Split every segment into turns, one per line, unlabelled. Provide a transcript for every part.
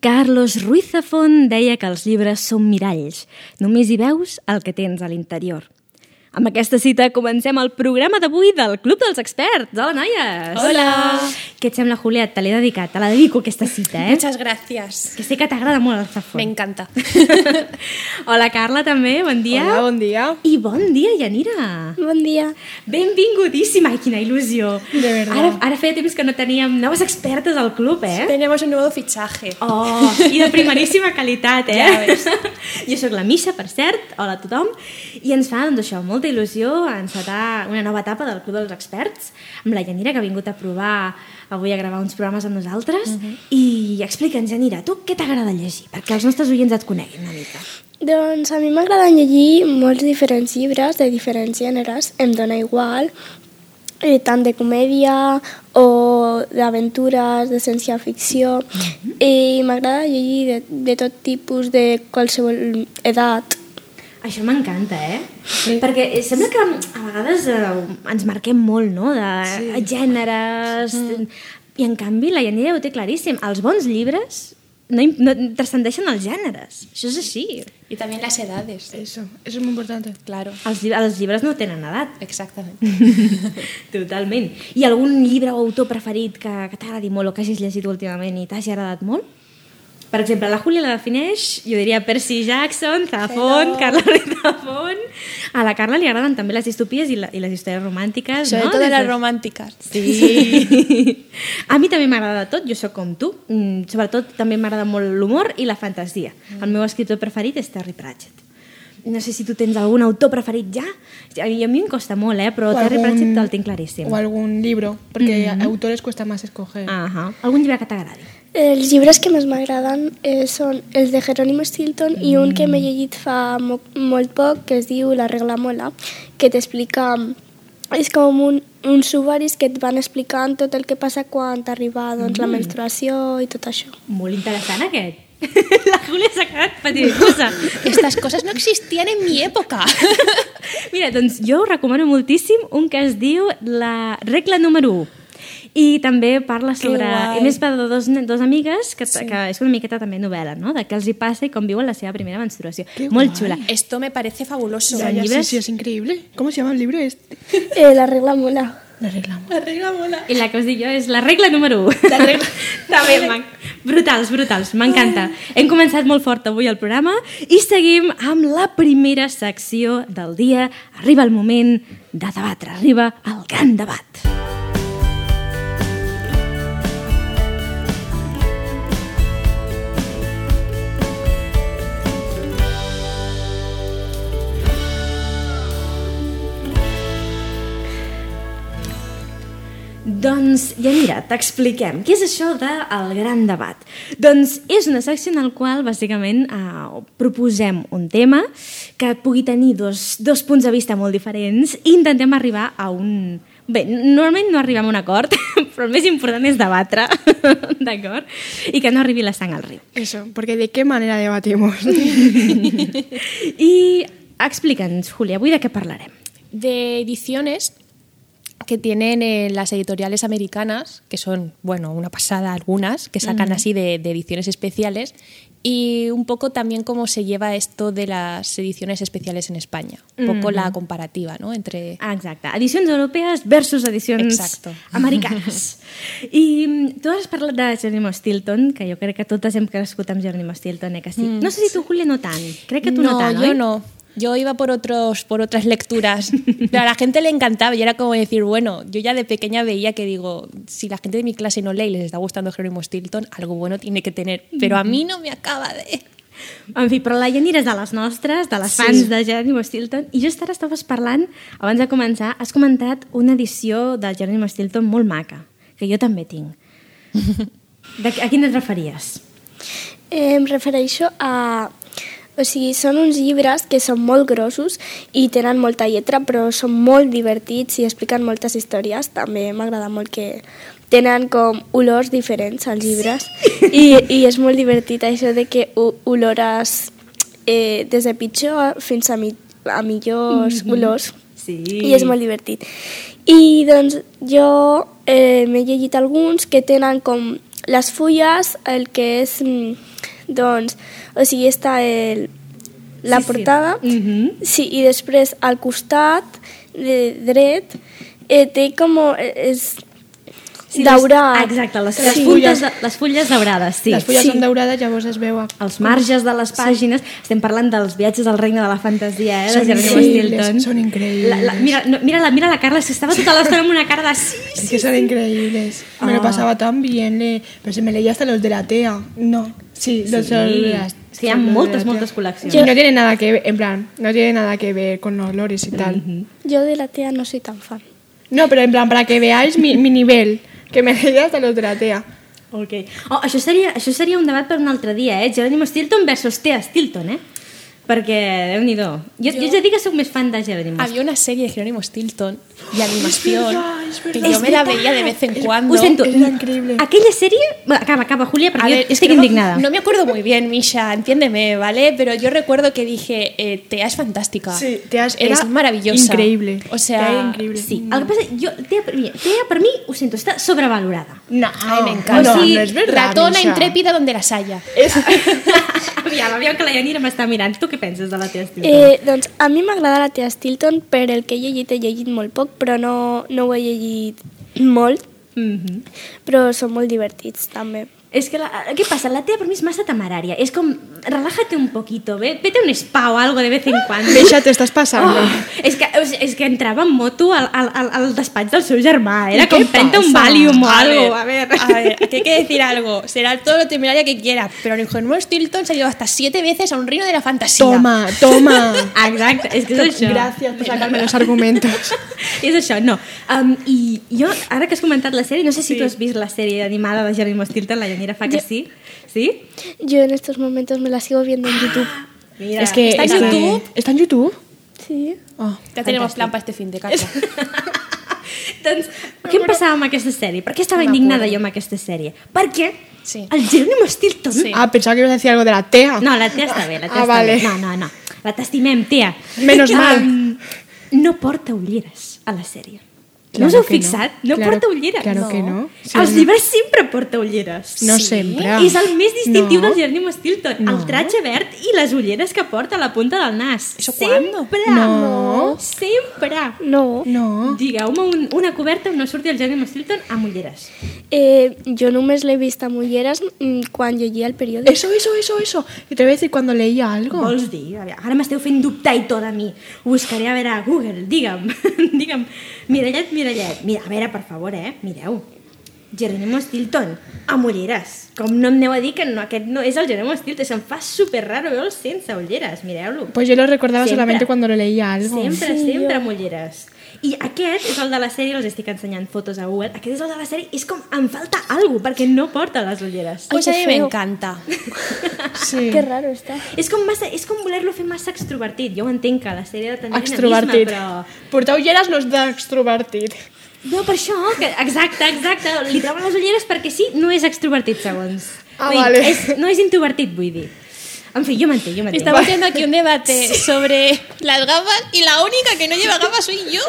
Carlos Ruiz Zafón deia que els llibres són miralls. Només hi veus el que tens a l'interior. Amb aquesta cita comencem el programa d'avui del Club dels Experts. Hola, noies!
Hola!
Què et sembla, Juliet? Te l'he dedicat, te la dedico aquesta cita, eh?
Muchas gracias.
Que sé que t'agrada molt el
Me
Zafón.
encanta.
Hola, Carla, també, bon dia.
bon dia.
I bon dia, Yanira.
Bon dia.
Benvingudíssima, ai, quina il·lusió.
De verdad.
Ara, ara feia temps que no teníem noves expertes al club, eh?
Tenemos un nuevo fichaje.
Oh, i de primeríssima qualitat, eh?
Ja ves.
Jo sóc la Misha, per cert, hola a tothom, i ens fa, doncs això, molta il·lusió encetar una nova etapa del Club dels Experts, amb la Janira, que ha vingut a provar avui a gravar uns programes amb nosaltres, i explica'ns, Janira, tu què t'agrada llegir? Perquè els nostres oients et coneguin una mica.
Doncs a mi m'agraden llegir molts diferents llibres de diferents gèneres, em dóna igual, eh, tant de comèdia o d'aventures, de ciència-ficció, i m'agrada llegir de, de tot tipus, de qualsevol edat.
Això m'encanta, eh? Sí. Perquè sembla que a vegades eh, ens marquem molt, no?, de sí. gèneres... Mm. I en canvi la Janira ho té claríssim. Els bons llibres no, im- no transcendeixen els gèneres. Això és així.
Y también las edades.
Eso, eso es muy importante.
Claro,
Els, lli- els llibres no tenen edat.
exactamente.
Totalment. Hi ha algun llibre o autor preferit que, que t'agradi molt o que hagis llegit últimament i t'hagi agradat molt? Per exemple, la Júlia la defineix, jo diria Percy Jackson, Zafón, Carla Ruiz Zafón... A la Carla li agraden també les distopies i, la, i les històries romàntiques,
Sobre
no?
todo
Des
las
de-
románticas.
Sí. A mi també m'agrada de tot, jo sóc com tu. Mm, Sobretot també m'agrada molt l'humor i la fantasia. El meu escriptor preferit és Terry Pratchett. No sé si tu tens algun autor preferit ja. A mi, a mi em costa molt, eh? però
O
Terry
algún-
Pratchett el tinc claríssim.
O algún libro, porque
Mm.
autores cuesta más escoger.
Ahà. Algun llibre que t'agradi?
Els llibres que més m'agraden eh, són els de Jerónimo Stilton i un que m'he llegit fa mo molt poc, que es diu La regla mola, que t'explica... És com un, uns subaris que et van explicant tot el que passa quan t'arriba doncs, la menstruació i tot això.
Molt interessant aquest. la Júlia s'ha quedat patidiscosa.
Estas cosas no existían en mi época.
Mira, doncs jo us recomano moltíssim un que es diu la regla número 1 i també parla sobre...
guai.
I més per dos, ne- dos amigues, que, sí. que és una miqueta també novel·la, no? De què els hi passa i com viuen la seva primera menstruació.
Que
Molt
guai.
xula.
Esto me parece fabuloso.
Ya, ya, sí,
libros.
sí, es increíble. ¿Cómo se llama el libro este?
Eh, la regla mola.
La reclamo.
La regla mola.
I la que us dic jo és la regla número 1.
La regla-
també, man... brutals, brutals, m'encanta. Hem començat molt fort avui el programa i seguim amb la primera secció del dia. Arriba el moment de debatre, arriba el gran debat. Doncs, ja mira, t'expliquem. Què és això de El Gran Debat? Doncs és una secció en la qual, bàsicament, eh, proposem un tema que pugui tenir dos, dos punts de vista molt diferents i intentem arribar a un... Bé, normalment no arribem a un acord, però el més important és debatre, d'acord? I que no arribi la sang al riu.
Eso, porque ¿de qué manera debatimos?
I explica'ns, Júlia, avui de què parlarem?
De ediciones que tienen eh, las editoriales americanas, que son, bueno, una pasada algunas, que sacan así de, de ediciones especiales, y un poco también cómo se lleva esto de las ediciones especiales en España. Un poco la comparativa, ¿no? Entre...
Ah, Exacte, edicions europees versus edicions
Exacto.
americanes. I mm, tu has parlat de Jerónimo Stilton, que jo crec que totes hem crescut amb Jerónimo Stilton, eh, que sí? Mm. No sé si tu, Julia, no tant. Crec que tu no, tant,
yo
oi?
no. Yo iba por, otros, por otras lecturas. Pero a la gente le encantaba y era como decir, bueno, yo ya de pequeña veía que digo, si la gente de mi clase no lee y les está gustando Jerónimo Stilton, algo bueno tiene que tener. Pero a mí no me acaba de...
En fi, però la Janira és de les nostres, de les
Sí.
fans de Jerónimo Stilton, i just ara estaves parlant, abans de començar, has comentat una edició de Jerónimo Stilton molt maca, que jo també tinc. De, a quina et referies?
Eh, em refereixo a... O sigui, són uns llibres que són molt grossos i tenen molta lletra, però són molt divertits i expliquen moltes històries. També m'agrada molt que tenen com olors diferents als llibres I, i és molt divertit això de que ho- olores eh, des de pitjor fins a, mi, a millors olors.
Sí.
I és molt divertit. I doncs jo eh, m'he llegit alguns que tenen com les fulles, el que és mm, Doncs, o sigui, està el, la
Sí, sí.
sí, portada, sí.
Mhm.
sí, i després al costat de, dret eh, té com... eh, És,
Sí, les-
daurat.
Exacte, les, les,
Sí.
fulles, de, les fulles daurades, sí.
Les fulles
Sí.
són daurades, llavors es veu... A...
Els marges de les pàgines, estem parlant dels viatges al regne de la fantasia, eh? de
Són
Jerónimo
increïbles,
Stilton.
són increïbles.
La, la, mira, no, mira, la, mira la Carla, si estava tota l'estona amb una cara de sí, Ah.
Es que son increíbles. Me lo pasaba tan bien. le- Pero se me leía hasta los de la TEA. No. Sí, los de las-
Sí, hi ha
los de
moltes,
la TEA.
moltes col·leccions.
Y no tiene nada que ver, en plan, no tiene nada que ver con los lores y tal.
jo de la tea no soy tan fan.
No, pero en plan, para que veáis mi, mi nivel, que me leía hasta los de la TEA.
Ok. Oh, això, seria, això seria un debat per un altre dia, eh? Jerónimo Stilton versus Thea Stilton, eh? Perquè, déu nhi jo, jo... jo ja dic que sóc més fan de Jerónimo.
Había una serie de Jerónimo Stilton de animación
verdad, es
que
verdad.
yo
Es
me la
verdad.
veía de vez en cuando.
Ho sento.
És increïble.
Aquella sèrie... Bueno, Acaba, acaba, Julia,
A
perquè jo
ver, es
estic
que no-
indignada.
No me acuerdo muy bien, Misha, entiéndeme, ¿vale? Pero yo recuerdo que dije, eh, Tea es fantástica.
Sí, Tea es-
es
era
maravillosa.
increíble.
O sea,
Tea era increíble.
Sí, el que passa... Jo, Thea, per mi, Thea, per mi, ho sento, està sobrevalorada.
No,
me encanta.
No,
Sí,
Oh, no es verdad.
Ratona
Misha.
intrépida donde las haya.
aviam, aviam que la Yanira m'està mirant. Tu què penses de la Thea Stilton?
Eh, doncs a mi m'agrada la Tea Stilton per el que he llegit, he llegit molt poc, però no, no ho he llegit molt,
Mm -hmm.
però són molt divertits també.
És que, la, ¿qué pasa? La Thea per mi és massa temerària. És com, relájate un poquito, ve, vete a un spa o algo de vez en cuando.
Misha, te estás pasando.
Oh, és, que, o sigui, és que entrava en moto al, al, al, al despatx del seu germà. Era com prenta un Valium o algo. A ver.
A ver, aquí hay que decir algo. Será todo lo temeraria que quiera, pero Jerónimo Stilton se ha ido hasta siete veces a un reino de la fantasía.
Toma, toma.
Exacte, és que és això.
Gracias por sacarme los argumentos.
És això, no. Um, I jo, ara que has comentat la sèrie, no sé si sí. tu has vist la sèrie animada de Jerónimo Stilton, la Llanera fa que sí. Sí?
Yo en estos momentos me la sigo viendo en YouTube.
Mira,
es que
¿está en
es que-
YouTube?
¿Está en YouTube?
Sí.
Oh.
Ya tenemos plan para este fin de casa.
Doncs, què em passava amb aquesta sèrie? Per què estava
M'acordo.
indignada jo amb aquesta sèrie? Perquè
Sí.
el Jerónimo Stilton...
Sí.
Ah, pensaba que ibas a decir algo de la TEA.
No, la tia està bé, la tia
Ah,
està
vale.
bé. No, no, no. La t'estimem, tia.
Menos mal.
Um, no porta ulleres a la sèrie. no
Claro
us heu
que no.
fixat? No,
Claro-
porta ulleres.
claro que no. Sí.
Als llibres sempre porta ulleres.
No sempre.
És el més distintiu
No.
del Jerónimo Stilton.
No.
El tratge verd i les ulleres que porta a la punta del nas.
¿Eso cuándo?
sempre.
No.
Sempre.
No.
No.
Oh. Digueu-me un, una coberta on no surti el Jerónimo Stilton amb ulleres.
Eh, jo només l'he vist amb ulleres mm, quan llegia el periòdic.
Eso, eso, eso, eso. Y te voy a decir cuando leía algo.
Vols dir? A veure, Ara m'esteu fent dubtar i tot a mi. Ho buscaré a veure a Google, digue'm. digue'm. Mirallet, mirallet. Mira, a veure, per favor, eh? Mireu. Jerónimo Stilton, amb ulleres. Com no em aneu a dir que no, aquest no és el Jerónimo Stilton, se'm fa super raro veure'l sense ulleres, mireu-lo.
Pues yo lo recordaba
Siempre.
solamente cuando lo leía algo.
Sempre, sempre amb ulleres. I aquest és el de la sèrie, els estic ensenyant fotos a Google, aquest és el de la sèrie, és com, em falta alguna perquè no porta les ulleres.
Pues a
Ay, qué
mí me
feo.
encanta.
Sí.
Qué raro está.
És com, massa, és com voler-lo fer massa extrovertit. Jo ho entenc, que la sèrie de tenir dinamisme,
Extrovertit.
però...
Portar ulleres no és d'extrovertit.
No, per això, que, exacte, exacte, li treuen les ulleres perquè sí, no és extrovertit, segons.
Ah,
Vull dir,
vale.
És, no és introvertit, vull dir. En fi, jo m'entenc, jo m'entenc.
Estamos haciendo aquí un debate sobre las gafas y la única que no lleva gafas soy yo.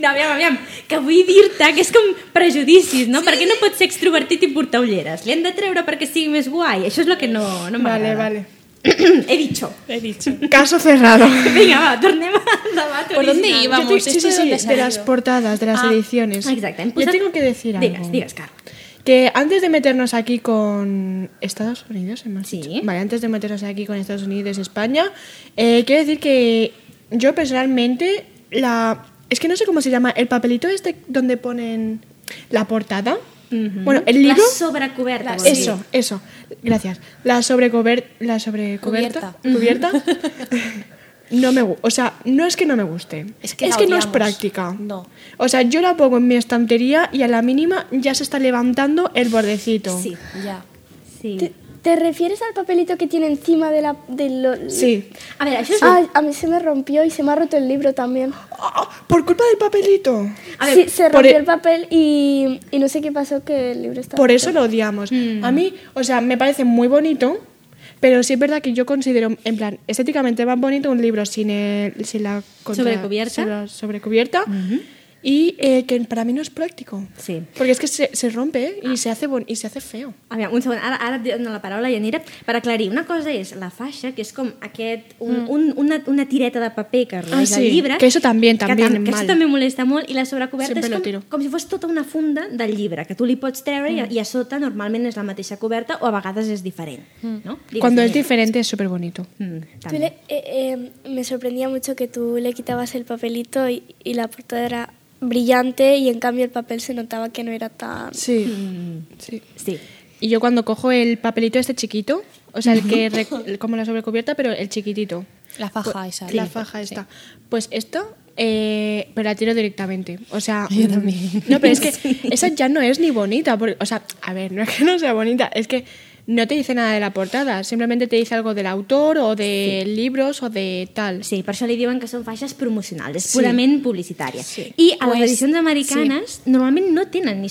No, aviam, aviam, que vull dir-te que és com prejudicis, no? Sí. Per què no pot ser extrovertit i portar ulleres? Li han de treure perquè sigui més guai. Això és el que no, no
Vale,
m'agrada.
vale.
He dicho.
He dicho.
Caso cerrado.
Vinga, va, tornem al debat
¿Por dónde
original.
íbamos?
Yo te- sí,
¿Esto
sí,
de
sí,
dónde
de
salió? Ah,
las portadas, de las ediciones.
Exacte, hem
Yo
posat...
tengo que decir algo.
Digues, digues, Carla.
Que antes de meternos aquí con Estados Unidos, hemos
Sí.
dicho. Vale, antes de meternos aquí con Estados Unidos, España, eh, quiero decir que yo personalmente, la. Es que no sé cómo se llama, el papelito este donde ponen la portada. Bueno, el libro.
La sobrecoberta. vol dir.
Eso, eso. Gracias. La sobrecober la sobrecoberta cubierta. No me gu- o sea, no es que no me guste.
Es que la
no es
odiamos.
práctica.
No.
O sea, yo la pongo en mi estantería y a la mínima ya se está levantando el bordecito.
Sí,
Ya.
sí.
¿Te, te refieres al papelito que tiene encima de la... De lo-
Sí.
A veure, això és...
Ay, a mí se me rompió y se me ha roto el libro también.
Ah, por culpa del papelito.
A ver,
sí, se
por
rompió
el-
el papel y, y no sé qué pasó que el libro estaba...
Por eso lo odiamos.
Mm.
A mí, o sea, me parece muy bonito, pero sí es verdad que yo considero, en plan, estéticamente más bonito un libro sin, el, sin la
Sobrecubierta.
sin la sobrecubierta y eh, que para mí no es práctico.
Sí.
Porque es que se, se rompe
Ah.
y, se hace bon- y se hace feo.
Aviam, un segon, ara, ara et dono la paraula, Yanira, per aclarir. Una cosa és la faixa, que és com aquest, un, mm. un, una, una tireta de paper que rodeix
Ah, sí,
el llibre.
que això també, també,
que, tam- que
mal.
això també molesta molt. I la sobrecoberta
Sempre lo
és
tiro.
com, com si fos tota una funda del llibre, que tu li pots treure mm. i, a, i a sota normalment és la mateixa coberta o a vegades és diferent. Mm. No? Digues,
Cuando es
Yanira.
diferente es súper bonito.
Mm,
Tú
també.
le- eh, eh, me sorprendía mucho que tú le quitabas el papelito y, y la portada era brillante y en cambio el papel se notaba que no era tan...
Mm.
Sí. sí.
Sí.
Y yo cuando cojo el papelito este chiquito, o sea, el que rec- el- como la sobrecubierta, pero el chiquitito. Pues,
La faja esa.
La
sí.
faja
Sí.
esta. Pues esto, eh, pero la tiro directamente. O sea,
Ah, Yo
mm,
también.
No, pero es que esa ya no es ni bonita. porque- o sea, a ver, no es que no sea bonita, es que no te dice nada de la portada, simplemente te dice algo del autor o de libros o de tal.
Sí, per això li diuen que són faixes promocionals, és
Sí.
purament publicitària.
Sí.
I a les
Pues,
edicions americanes sí. normalment no tenen ni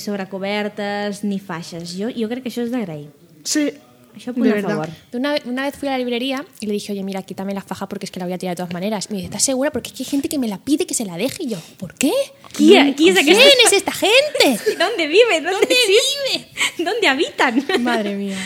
sobrecobertes ni faixes. Jo, jo crec que això és d'agrair.
Sí.
Això
De
punt a
verdad.
favor.
Una, ve- una vez fui a la librería y le dije, oye, mira, quítame la faja porque es que la voy a tirar de todas maneras. Y me dice, ¿estás segura? Porque es que hay gente que me la pide que se la deje. Y yo, ¿por qué?
Qui- qui és aquesta-
¿Quién es esta gente?
¿Dónde vive? ¿Dónde, vive? ¿Dónde habitan?
Madre mía.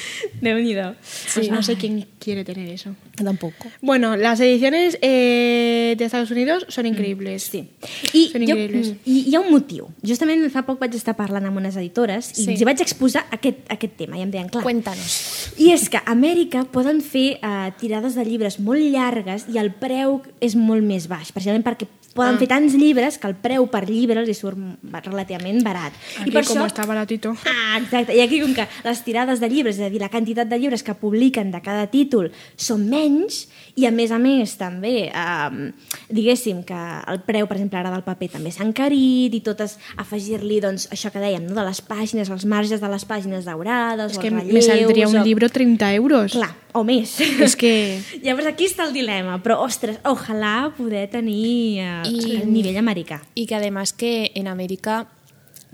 De unido.
Pues no sé quién quiere tener eso.
Tampoco.
Bueno, las ediciones eh, de Estados Unidos son increíbles.
Sí. I,
Són
jo, mm,
increïbles.
I hi ha un motiu. Justament fa poc vaig estar parlant amb unes editores i
Sí.
els hi vaig exposar aquest, aquest tema i em deien, clar,
Cuéntanos.
I és que a Amèrica poden fer eh, tirades de llibres molt llargues i el preu és molt més baix, precisament perquè poden ah. fer tants llibres que el preu per llibre els hi surt relativament barat.
Aquí
I per
como
això...
está baratito.
Ah, exacte. I aquí, com que les tirades de llibres, és a dir, la quantitat de llibres que publiquen de cada títol són menys, i a més a més també, eh, diguéssim que el preu, per exemple, ara del paper també s'ha encarit, i totes afegir-li, doncs, això que dèiem, no? de les pàgines, els marges de les pàgines daurades,
Es
o
que
els
me
relleus...
saldría un
o...
libro 30 euros.
Clar, o més.
És que-
Llavors aquí està el dilema, però, ostres, ojalà poder tenir eh,
I-
el nivell americà.
Y que además que en América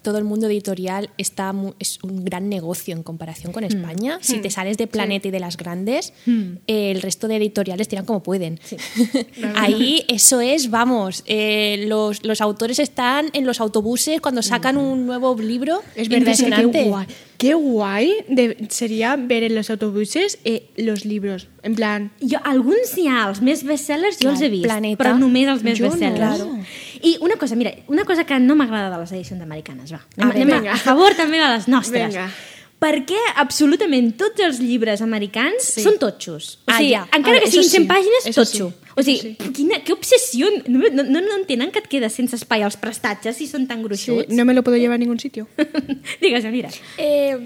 todo el mundo editorial está mu- es un gran negocio en comparación
Mm.
con España. Si te sales de Planeta y de las grandes, eh, el resto de editoriales tiran como pueden. Ahí eso es, vamos, eh, los, los autores están en los autobuses cuando sacan un nuevo libro.
Es verdad, es que
impresionante.
qué guay. Qué guay de- sería ver en los autobuses eh, los libros. En plan,
Jo, alguns hi ha, els més bestsellers jo
Clar,
els he vist,
Planeta.
però només els més
Jo no.
bestsellers.
Claro.
I una cosa, mira, una cosa que no m'agrada de les edicions americanes, va. Anem, a, anem
A veure,
a,
vinga.
a favor també de les nostres.
Vinga.
Per què absolutament tots els llibres americans sí. són totxos? O
Ah,
sigui,
ja.
encara
Ah,
que
eso
siguin 100
sí,
pàgines,
eso
totxo.
sí,
O sigui, sí. quina, que obsessió. No, no, no, no entenen que et quedes sense espai als prestatges si són tan
sí,
gruixuts?
no me lo puedo llevar a ningún sitio.
Digues, mira.
Eh,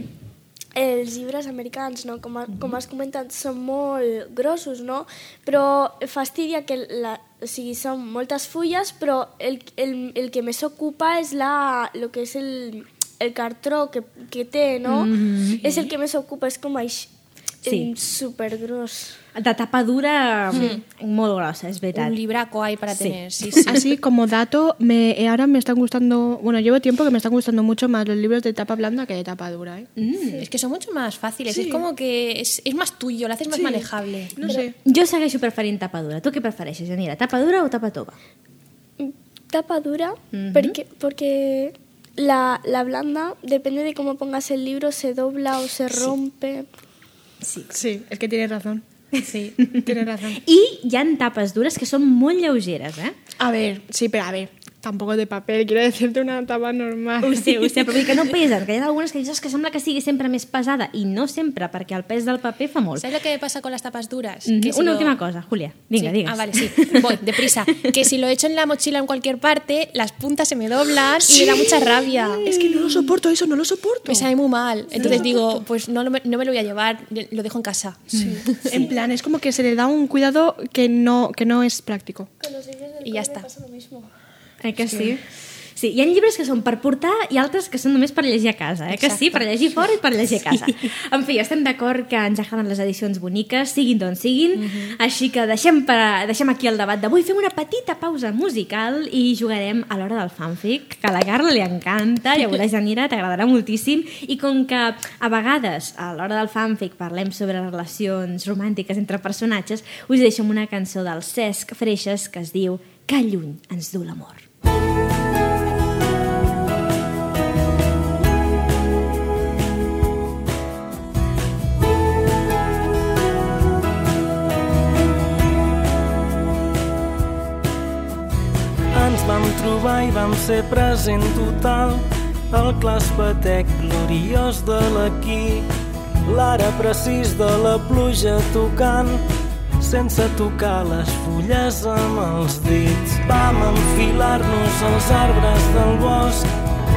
els llibres americans, no? com, ha- com has comentat, són molt grossos, no? però fastidia que la, o sigui, són moltes fulles, però el, el, el que més ocupa és la, lo que és el, el cartró que, que té, no? Mm -hmm. És el que més ocupa, és com així,
Sí.
sí. supergros.
De tapa dura mm. molt grossa, és veritat.
Un libraco hay para
Sí.
tener. Sí, sí.
Así como dato, me, eh, ahora me están gustando, bueno, llevo tiempo que me están gustando mucho más los libros de tapa blanda que de tapa dura. ¿eh?
Mm. Es que son mucho más fáciles.
Sí.
Es como que es, es más tuyo, lo haces más
Sí.
manejable.
No sé.
Jo segueixo preferint tapa dura. Tu què prefereixes, Janira? Tapa dura o tapa tova?
Tapa dura, porque, porque la, la blanda, depende de cómo pongas el libro, se dobla o se rompe.
Sí.
Sí, es que tienes razón. Sí, tienes razón.
I hi han tapes dures que són molt lleugeres, eh?
A ver, sí, pero a ver, tampoco de papel, quiero decirte una tapa
Ah.
normal.
Ho sé, ho sé, però vull dir que no pesen, que hi ha algunes que dius "És que sembla que sigui sempre més pesada, i no sempre, perquè el pes del paper fa molt.
¿Sabes lo que me pasa con las tapas duras?
Mhm.
Que si
Una
lo-
última cosa, Julia. Vinga,
Sí.
digues.
Ah, vale, sí. Voy, deprisa. Que si lo echo en la mochila en cualquier parte, las puntas se me doblan y me da mucha rabia.
Es que no lo soporto, eso no lo soporto.
Me sabe muy mal. Entonces digo, pues no, lo- no me lo voy a llevar, lo dejo en casa.
En plan, es como que se le da un cuidado que no, que no es práctico.
Con los libros del
Y ya
cole me
está.
pasa lo mismo.
Eh que sí? Sí, hi ha llibres que són per portar i altres que són només per llegir a casa, eh? Que sí, per llegir fora i per llegir a casa. En fi, estem d'acord que ens agraden les edicions boniques, siguin d'on siguin, així que deixem, per, deixem aquí el debat d'avui, fem una petita pausa musical i jugarem a l'hora del fanfic, que a la Carla li encanta, ja veuràs, Janira, t'agradarà moltíssim, i com que a vegades a l'hora del fanfic parlem sobre relacions romàntiques entre personatges, us deixo amb una cançó del Cesc Freixas que es diu Que lluny ens du l'amor.
Quan ser present total, el claspetec gloriós de l'aquí, l'ara precís de la pluja tocant, sense tocar les fulles amb els dits. Vam enfilar-nos als arbres del bosc,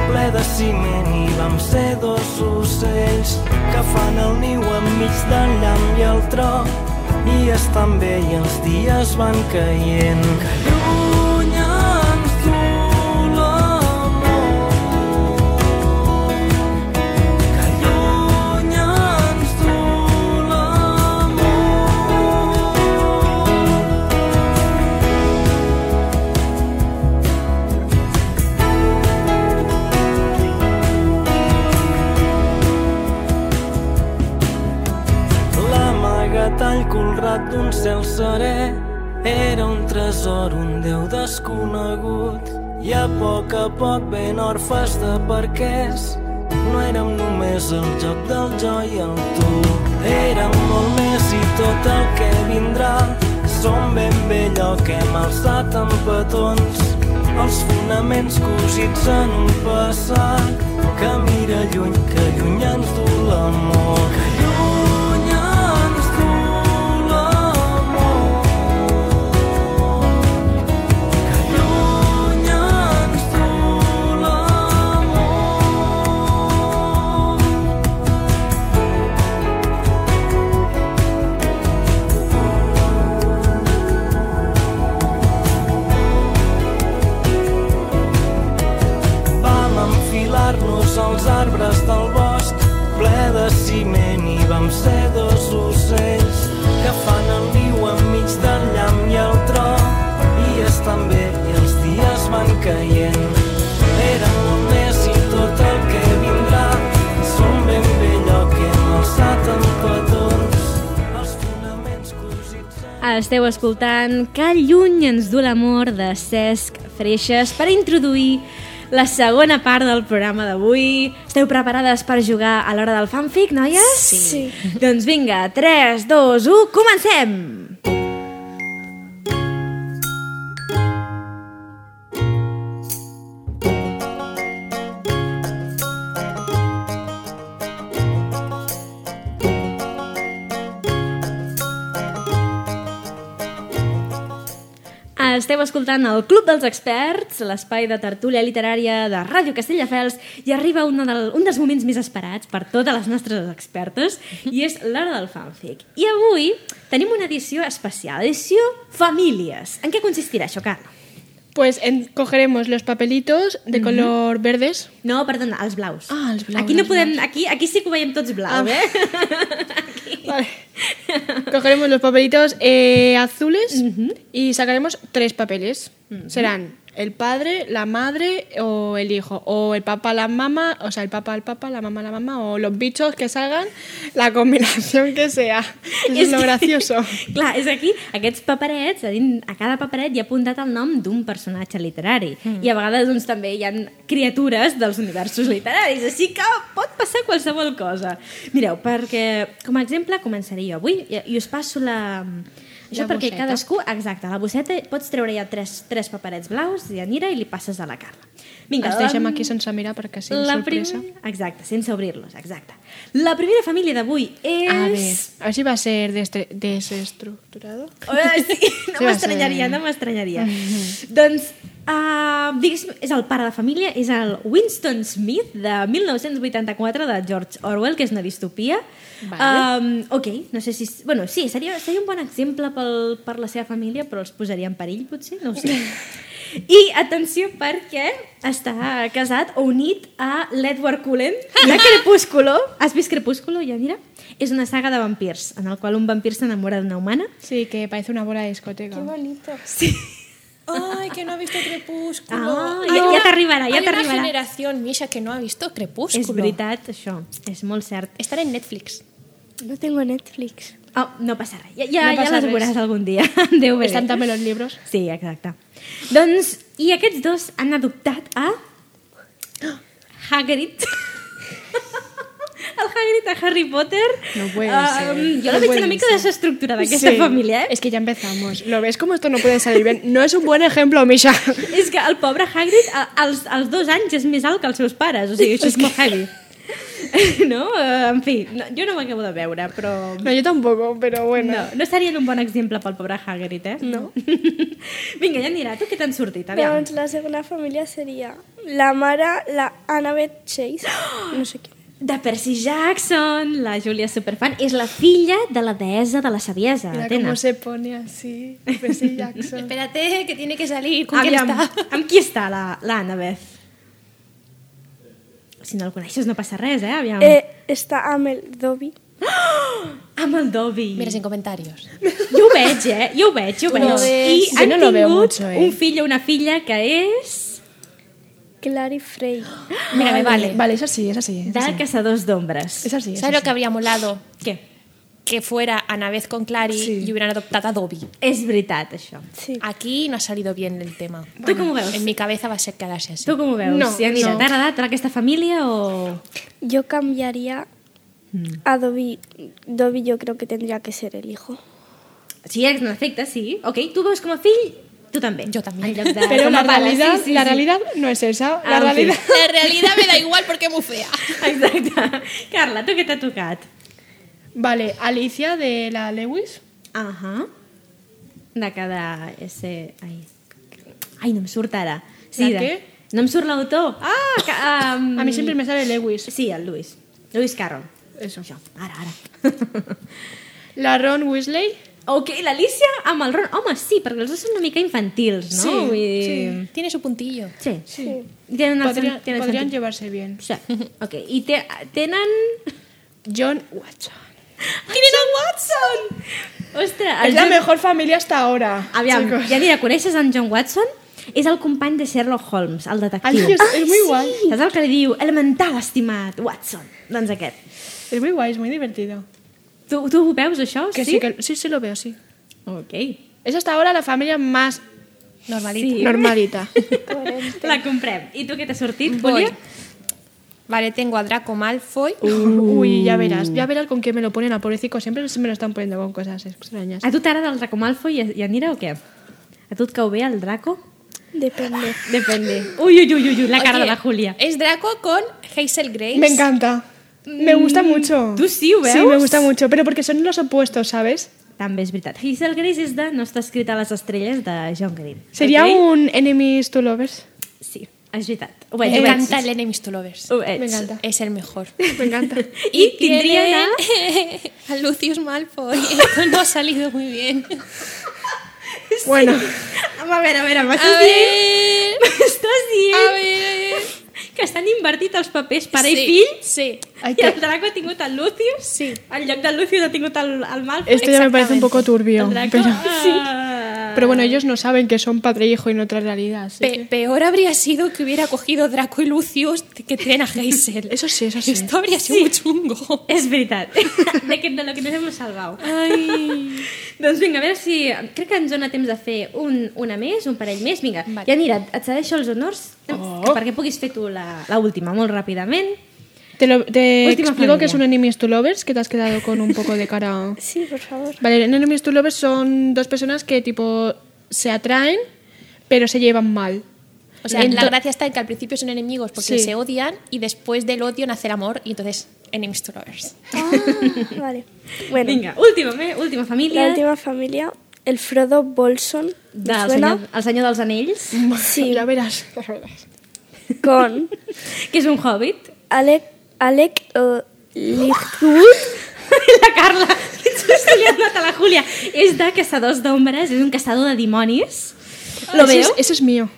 ple de ciment i vam ser dos ocells que fan el niu enmig del llamp i el tro i estan bé i els dies van caient. Que lluny ens du l'amor que lluny ens du l'amor L'amagatall colrat d'un cel serè era un tresor, un déu desconegut. I a poc a poc ben orfes de perquès no érem només el joc del jo i el tu. Érem molt més i tot el que vindrà som ben bé allò que hem alçat amb petons els fonaments cosits en un passat que mira lluny, que lluny ens du l'amor. Que lluny ens du l'amor. Que lluny ens du l'amor. Vam enfilar-nos als arbres del bosc ple de ciment i vam ser dos ocells que fan el niu enmig del llamp i el tro i estan bé i els dies van caient. Era molt més i tot el que vindrà som ben bé allò que hem alçat amb petons els fonaments cosits en...
Esteu escoltant Que lluny ens du l'amor de Cesc Freixes per introduir la segona part del programa d'avui. Esteu preparades per jugar a l'hora del fanfic, noies?
Sí. Sí.
Doncs vinga, 3, 2, 1, comencem! Esteu escoltant el Club dels Experts, l'espai de tertúlia literària de Ràdio Castelldefels, i arriba una del, un dels moments més esperats per totes les nostres expertes, i és l'hora del fanfic. I avui tenim una edició especial, edició Famílies. En què consistirà això, Carla?
Pues en- cogeremos los papelitos de color verdes.
No, perdona, els blaus.
Ah, els blaus,
Aquí, no
els
podem, aquí, aquí sí que ho veiem tots blau,
Ah.
eh?
Vale. Cogeremos los papelitos eh, azules y sacaremos tres papeles. Serán el padre, la madre o el hijo. O el papá, la mamá, o sea, el papá, el papá, la mamá, la mamá, o los bichos que salgan, la combinación que sea. Eso es lo
que-
gracioso.
Clar, és aquí, aquests paperets, a, dins, a cada paperet hi ha apuntat el nom d'un personatge literari. Mm. I a vegades doncs, també hi han criatures dels universos literaris, així que pot passar qualsevol cosa. Mireu, perquè, com a exemple, començaré jo avui i, i us passo la... Això
La
perquè
bosseta.
cadascú... Exacte, la bosseta, pots treure ja tres, tres paperets blaus, i Anira, i li passes a la Carla. Vinga,
Els deixem este aquí sense mirar perquè sigui
la
sorpresa.
Primer... Exacte, sense obrir-los, exacte. La primera família d'avui és...
A ver, a ver si va a ser destre- desestructurado.
Eh, sí, no
Sí, va ser. Mm-hmm.
m'estranyaria, no m'estranyaria. doncs, uh, diguéssim, és el pare de família, és el Winston Smith de 1984 de George Orwell, que és una distopia.
Vale.
Um, ok, no sé si... Bueno, sí, seria, seria un bon exemple pel, per la seva família, però els posaria en perill, potser, no ho sé. I atenció perquè està casat o unit a l'Edward Cullen de Crepúsculo. Has vist Crepúsculo, ja mira? És una saga de vampirs, en el qual un vampir s'enamora d'una humana
Sí, que parece una bola de discoteca.
Ay, que no ha visto Crepúsculo.
Ah,
Hay
ya- ya
una-
te arribará, ya
hay
te
una
arribará.
generación, Misha, que no ha visto Crepúsculo.
És veritat, això. És molt cert.
Estar en Netflix.
No tengo Netflix.
Oh, no passa res. Ja, ja,
No
ja
passa
les
res.
veuràs algun dia. Déu bé.
Están también los libros.
Sí, exacte. Doncs, i aquests dos han adoptat a... Hagrid. El Hagrid a Harry Potter.
No puede
Ah,
ser.
jo
No
la veig
puede
una mica
ser.
desestructurada, aquesta
Sí,
família, eh?
Es que ya empezamos. ¿Lo ves cómo esto no puede salir bien? No es un buen ejemplo, Misha.
És que el pobre Hagrid a- als, als dos anys és més alt que els seus pares, o sigui, això és molt heavy. No? Eh, En fi, no, jo no m'acabo de veure, però...
No, yo tampoco, pero bueno.
No, no serien un bon exemple pel pobre Hagrid, eh? No. Doncs, Vinga, ja anirà. Tu què t'han sortit? Aviam.
Llavors, la segona família seria la mare, la Annabeth Chase, no sé qui.
De Percy Jackson, la Júlia Superfan, és la filla de la deessa de la saviesa,
Mira
Atena.
cómo se pone así, Percy Jackson.
Espérate, que tiene que salir. ¿Con quién
Aviam,
está?
amb qui està la- l'Annabeth? Si no el coneixes no passa res, eh? Aviam.
Eh, està amb el Dobby.
Amb el Dobby.
Mira, sin comentarios.
Jo ho veig, eh? Jo ho veig, jo ho veig.
No
I
ves.
Jo
han
no lo veo
tingut
mucho, eh?
un fill o una filla que és
Clary Frey.
Mira, me vale.
Vale, es así, es así. Es
de
así,
Caçadors d'Ombres.
es así. es
¿Sabes lo
así.
que habría molado?
Què?
Que fuera Ana vez con Clary
Sí.
y hubieran adoptado a Dobby.
És veritat, això.
Sí.
Aquí no ha salido bien el tema.
tu com ho veus?
En mi cabeza va a ser quedarse así.
Tu com ho veus?
No,
si anirà,
no.
t'ha agradat aquesta família o...
Yo cambiaría a Dobby. Dobby yo creo que tendría que ser el hijo.
Si eres un efecte, sí. Ok, tu veus com a fill, tu també.
Jo també.
En lloc de...
Pero
com a
la
pare,
realidad, la realidad no es esa.
Ah,
La
ok.
realidad.
La realidad me da igual porque es muy fea.
Exacte. Carla, tu què t'ha tocat?
Vale, Alicia de la Lewis.
Ahà. De cada... Ese... Ai. Ai, no em surt ara. Sí,
De què?
No em surt l'autor. Ah! Que, um...
A mí siempre me sale Lewis.
Sí, el Lewis. Lewis Carroll.
Eso.
Això, ara, ara.
La Ron Weasley.
ok, l'Alicia amb el Ron. Home, sí, perquè els dos són una mica infantils, no?
Sí,
Vull dir...
Tiene su puntillo.
Sí. sí.
Sí.
Tenen el
Podrían,
sen- tenen el
podrían
sentit.
llevarse bien.
Sí. Ok, i te, tenen...
John Watson.
Tenen el Watson! Ostres,
Es
el
la
John-
mejor familia hasta ahora.
Aviam,
chicos.
ja dirà, coneixes en John Watson? És el company de Sherlock Holmes, el
Ay,
detectiu.
Dios, es muy guay.
Saps el que li diu? Elemental, estimat Watson. Doncs aquest.
Es muy guay, es muy divertido.
Tu, tu ho veus, això?
Que
sí?
sí, que sí, sí lo veo, sí.
Ok.
Es hasta ahora la familia más
Normalito.
Sí.
normalita.
La comprem. I tu què t'ha sortit,
Voy.
Volia?
Vale, tengo a Draco Malfoy.
Uy, ya verás, ya verás con qué me lo ponen a pobrecito. Siempre se me lo están poniendo con cosas extrañas.
A tu t'agrada el Draco Malfoy i, i anirà o què? A tu et cau bé el Draco?
Depende.
Depende. Ui, ui, ui, ui, ui la cara de
Oye,
la Júlia.
Es Draco con Hazel Grace.
Me encanta. Me gusta mucho.
¿tú sí, veus?
Mm. Sí, me gusta mucho, pero porque son los opuestos, ¿sabes?
També és veritat. Hazel Grace és de No està escrita a les estrelles de John Green.
Sería
Ok?
un enemies to lovers.
Sí, és veritat. Ho
Me
veig, ho veig.
encanta el Enemies to Lovers.
Ho veig.
Me encanta.
Es el mejor.
Me encanta.
I tindria
tiene
la...
a Lucius Malfoy. Esto no ha salido muy bien.
Bueno,
A veure, a veure,
A
m'estàs dient...
ver.
M'estàs dient
A ver.
que estan invertit els papers pare
Sí,
i fill?
Sí.
Ai,
I
que-
el Draco ha tingut el Lucius?
Sí.
En lloc del Lucius ha tingut el, el Malfoy?
esto ya me parece un
Exactamente.
poco turbio.
El Draco...
Pero,
ah.
pero bueno, ellos no saben que son padre e hijo en otra realidad. así
Pe- peor habría sido que hubiera cogido Draco y Lucius que tienen a
que-
Hazel.
Eso sí, eso sí.
Esto habría sido muy chungo.
És veritat. De, que, de lo que nos hemos salvado. Ai. doncs vinga, a veure si... Crec que ens dona temps de fer un, una més, un parell més. Vinga, vale.
Vale.
ja mira, et cedeixo els honors
Oh.
perquè puguis fer tu la- la última molt ràpidament.
Te, lo- te
Última
explico
familia.
que es un enemies to lovers, que te has quedado con un poco de cara...
Sí, por favor.
Vale, en Enemies to Lovers son dos personas que tipo se atraen, pero se llevan mal.
O sea,
Ento-
la gracia está en que al principio son enemigos porque
Sí.
se odian y después del odio nace el amor y entonces enemies to lovers.
Ah, vale. Bueno,
Vinga, última, eh? última família.
la última familia, el Frodo Bolson. ¿os
Del
suena?
senyor, el senyor dels anells,
Sí.
Ya verás. ya verás.
Con
que és un hobbit.
Alec, Alec eh, Lightwood.
la Carla, just li ha donat a la Júlia. És de Caçadors d'Ombres, és un caçador de dimonis. ¿Lo
Eso
veo?
es- eso es mío.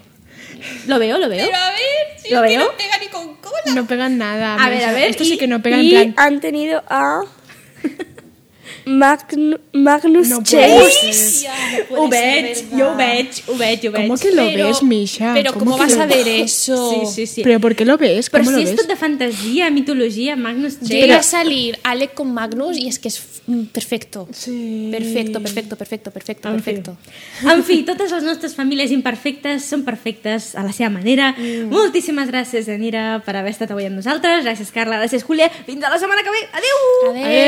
Lo veo, lo veo.
a ver,
si ¿Lo es que veo? no
pega ni con cola.
No pegan nada.
A ver,
Marisa.
a ver,
Esto
y-
sí que no pega
y-
en plan.
Han tenido a Magn- Magnus
No
Chase.
Ho veig, jo ho veig, ho veig, ho veig.
¿Cómo que lo ves, Misha?
Pero ¿cómo,
que
vas
lo
a
ves?
ver eso?
Sí, sí, sí.
¿Pero por qué lo ves?
Però
¿Cómo
si
lo
és
ves?
tot de fantasia, mitologia, Magnus Chase...
Llega a salir Alec con Magnus y es que es mm, perfecto.
Sí.
Perfecto, perfecto, perfecto, perfecto, perfecto.
En fi, totes les nostres famílies imperfectes són perfectes a la seva manera. Mm. Moltíssimes gràcies, Anira, per haver estat avui amb nosaltres. Gràcies, Carla. Gràcies, Julia. Fins a la setmana que ve. Adéu!
Adeu.